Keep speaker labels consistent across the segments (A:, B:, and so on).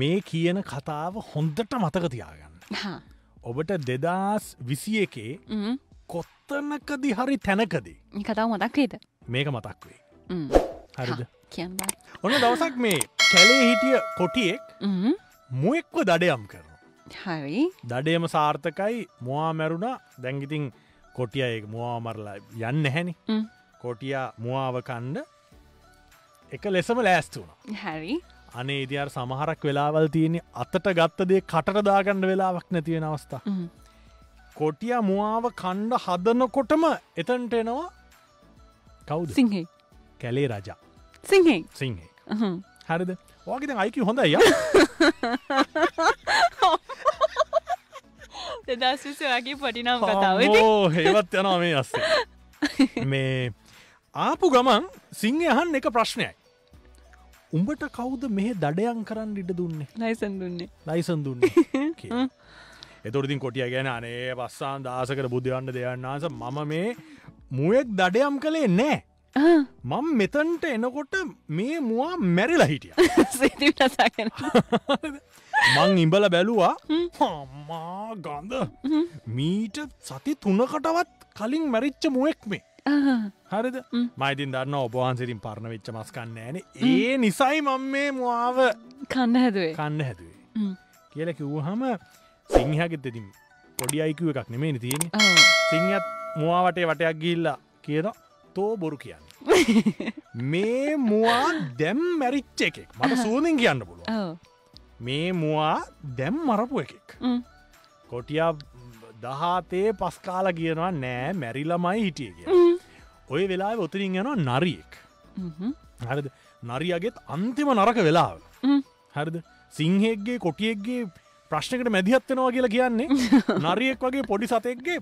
A: මේ කියන කතාව හොන්දට මතක තියාගන්න.
B: හා.
A: ඔබට දෙදස් විසි එකේ
B: ම්ම්.
A: කොත්තනකදි හරි තැනකදී
B: මේ කතාව මතක්කේද
A: මේක මතක් වේ.
B: ම්ම්.
A: හරිද
B: කියන්න බෑ.
A: ඔන්න දවසක් මේ කැලේ හිටිය කොටියෙක්
B: ම්ම්.
A: මුවෙක්ව දඩයම් කරන.
B: හරි
A: දඩයම සාර්ථකයි මවා මැරුණ දැංගිතින් කොටියයෙක් මවා මරලා යන්න හැනි
B: ම්ම්.
A: කොටියා මවාව කණ්ඩ එක ලෙසම ලෑස්තුුණ.
B: හරි
A: අනේ ඉදිර සමහරක් වෙලාවල් තියෙනෙ අතට ගත්තදේ කටරදාගණ්ඩ වෙලාවක් නැතිවෙන අවස්ථා.
B: ම්ම්.
A: කොටිය මවාව කණ්ඩ හදනකොටම එතන්ට එනවා කවුද
B: සිංහයි
A: කැලේ රජා
B: සිංහයි
A: සිංහේ.
B: හ්ම්.
A: හරිද ඕගෙද අයිකි හොඳයි ය
B: දෙදස් විසයාගේ පටිනම් කතාව
A: ඕ හෙවත් යනවා මේ අස්සේ මේ ආපු ගමන් සිංහයහන් එක ප්‍රශ්නයයි උඹට කවුද මෙහ දඩයන් කරන්න ඉඩ දුන්නේ
B: ලයිසන් දුන්නේ
A: ලයිසන් දුන්නේ කියලා. එතුරතින් කොටිය ගැන අනේ පස්සාන් දාසකට බුද්ධවන්න දෙයන්නාස මම මේ මුවෙක් දඩයම් කළේ නෑ
B: ආ,
A: මං මෙතන්ට එනකොට මේ මුවා මැරිලා හිටිය
B: සිතිවිලි රසාගෙන.
A: මං ඉඹල බැලුවා හම්මා ගඳ මීට සති තුනකටවත් කලින් මැරිච්ච මුවෙක් මේ
B: ආ,
A: හරිද
B: ම්.
A: මයිතින් දන්න ඔබහන්සිරින් පරණ වෙච්ච මස්කන්න ෑන ඒ නිසයි මං මේ මවාව
B: කන්න හැදුවේ
A: කන්න හැදුවේ
B: ම්ම්.
A: කියල කිව්හම සිංහගෙත්තතිම් පොඩි අයිකුව එකක් නෙමේ තියෙන
B: ආ.
A: සිංහත් මවාවටේ වටයක් ගිල්ලා කියන තෝ බොරු කියන්න
B: Oh.
A: මේ මවා දැම් මැරිච්ච එකෙක් මට සූනින් කියන්න පුළුව
B: ඔව්.
A: මේ මවා දැම් මරපු එකෙක්
B: ම්ම්.
A: කොටියා දහතේ පස්කාල කියනවා නෑ මැරිලමයි හිටිය කිය
B: ම්ම්.
A: ඔය වෙලා ඔතරින් යනවා නරියෙක්
B: ම්හ්ම්.
A: හරිද නරියගෙත් අන්තිම නරක වෙලාව
B: ම්ම්.
A: හරිද සිංහෙක්ගේ කොටියෙක්ගේ ප්‍රශ්නකට මැදිහත්වෙනවා කියලා කියන්නේ නරියෙක් වගේ පොඩි සතෙක්ගේ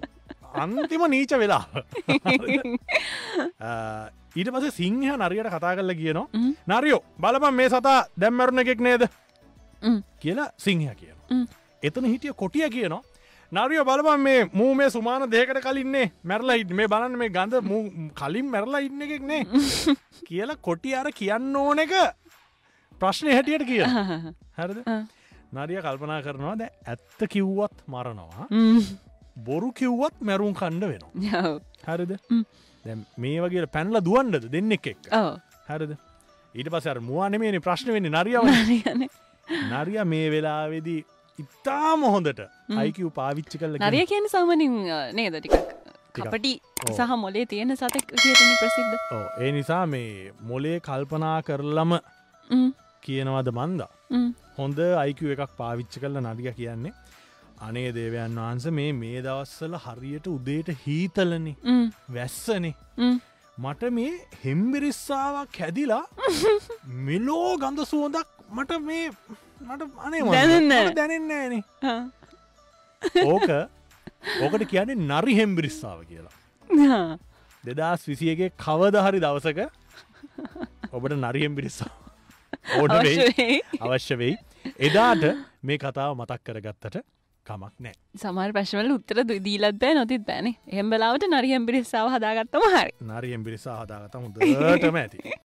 A: අන්තිම නීච වෙලා ඊට පස සිංහ නරියට කතා කරල
B: ම්ම්.
A: කියනවා නරියෝ බලපන් මේ සතා දැම්මැරුණ එකෙක් නේද
B: ම්ම්.
A: කියලා සිංහ කියන
B: ම්ම්.
A: එතන හිටිය කොටිය කියනවා නරියෝ බලපන් මේ මූ මේ සුමාන දෙකට කලින්නේ මැරලා ඉන්න මේ බලන්න මේ ගඳ මූ කලින් මැරලා ඉන්න එකෙක් නේ කියල කොටි අර කියන්න ඕන එක ප්‍රශ්නය හැටියට කිය
B: ආ.
A: හැරද
B: ආ.
A: නරිය කල්පනා කරනවා ද ඇත්ත කිව්වත් මරනවා
B: ම්ම්.
A: බොරු කිව්වත් මැරුම් කණ්ඩ වෙනවා
B: ඔව්.
A: හැරිද
B: ම්.
A: දැ මේ වගේ පැන්ල දුවන්ඩද දෙන්න එක එක්
B: ඔව්.
A: හැරද ඊට පසර මුවනමේ ප්‍රශ්න වෙන නරියාව
B: නරියනේ.
A: නරිය මේ වෙලාවෙදී ඉතාම හොඳට අයිකව පාවිච්චි කල්ල
B: නරිය කියන්නේ සාමනින් නේද ටිකක් කපටි
A: ඔව්.
B: සහ මොලේ තියෙන සතෙක් වියටන ප්‍රසිද්ධ
A: ඒ නිසා මේ මොලේ කල්පනා කරලම
B: ම්ම්.
A: කියනවද මන්දා
B: ම්ම්.
A: හොඳ අයික එකක් පාවිච්ච කල නරිය කියන්නේ අනේ දේවයන් වහන්ස මේ මේ දවස්සල හරියට උදේට හීතලනෙ
B: ම්ම්.
A: වැස්සනේ
B: ම්ම්.
A: මට මේ හෙම්බිරිස්සාාවක් හැදිලා මෙලෝ ගඳ සුවඳක් මට මේ මට අනේ
B: දැනෙන්නේ නෑ.
A: දැනන්න න
B: ආ.
A: ඕක ඕකට කියන්නේ නරි හෙම්බිරිස්සාාව කියලා
B: ආ.
A: දෙදස් විසියගේ කවදහරි දවසක ඔබට නරියම් පිරිස්සා ඕඩ වෙයි
B: අවශ්‍ය වෙයි.
A: අවශ්‍ය වෙයි එදාට මේ කතාව මතක් කරගත්තට කමක් නෑ
B: සමාර් ප්‍රශ්වල උත්තර දු දීලත් බෑ නොතිත් බෑන හෙම්බලාවට නරියම් පිරිස්සාාව හදාගත්තම හරි
A: නරියම් පිරිසා හදාගත හොඳටම ඇති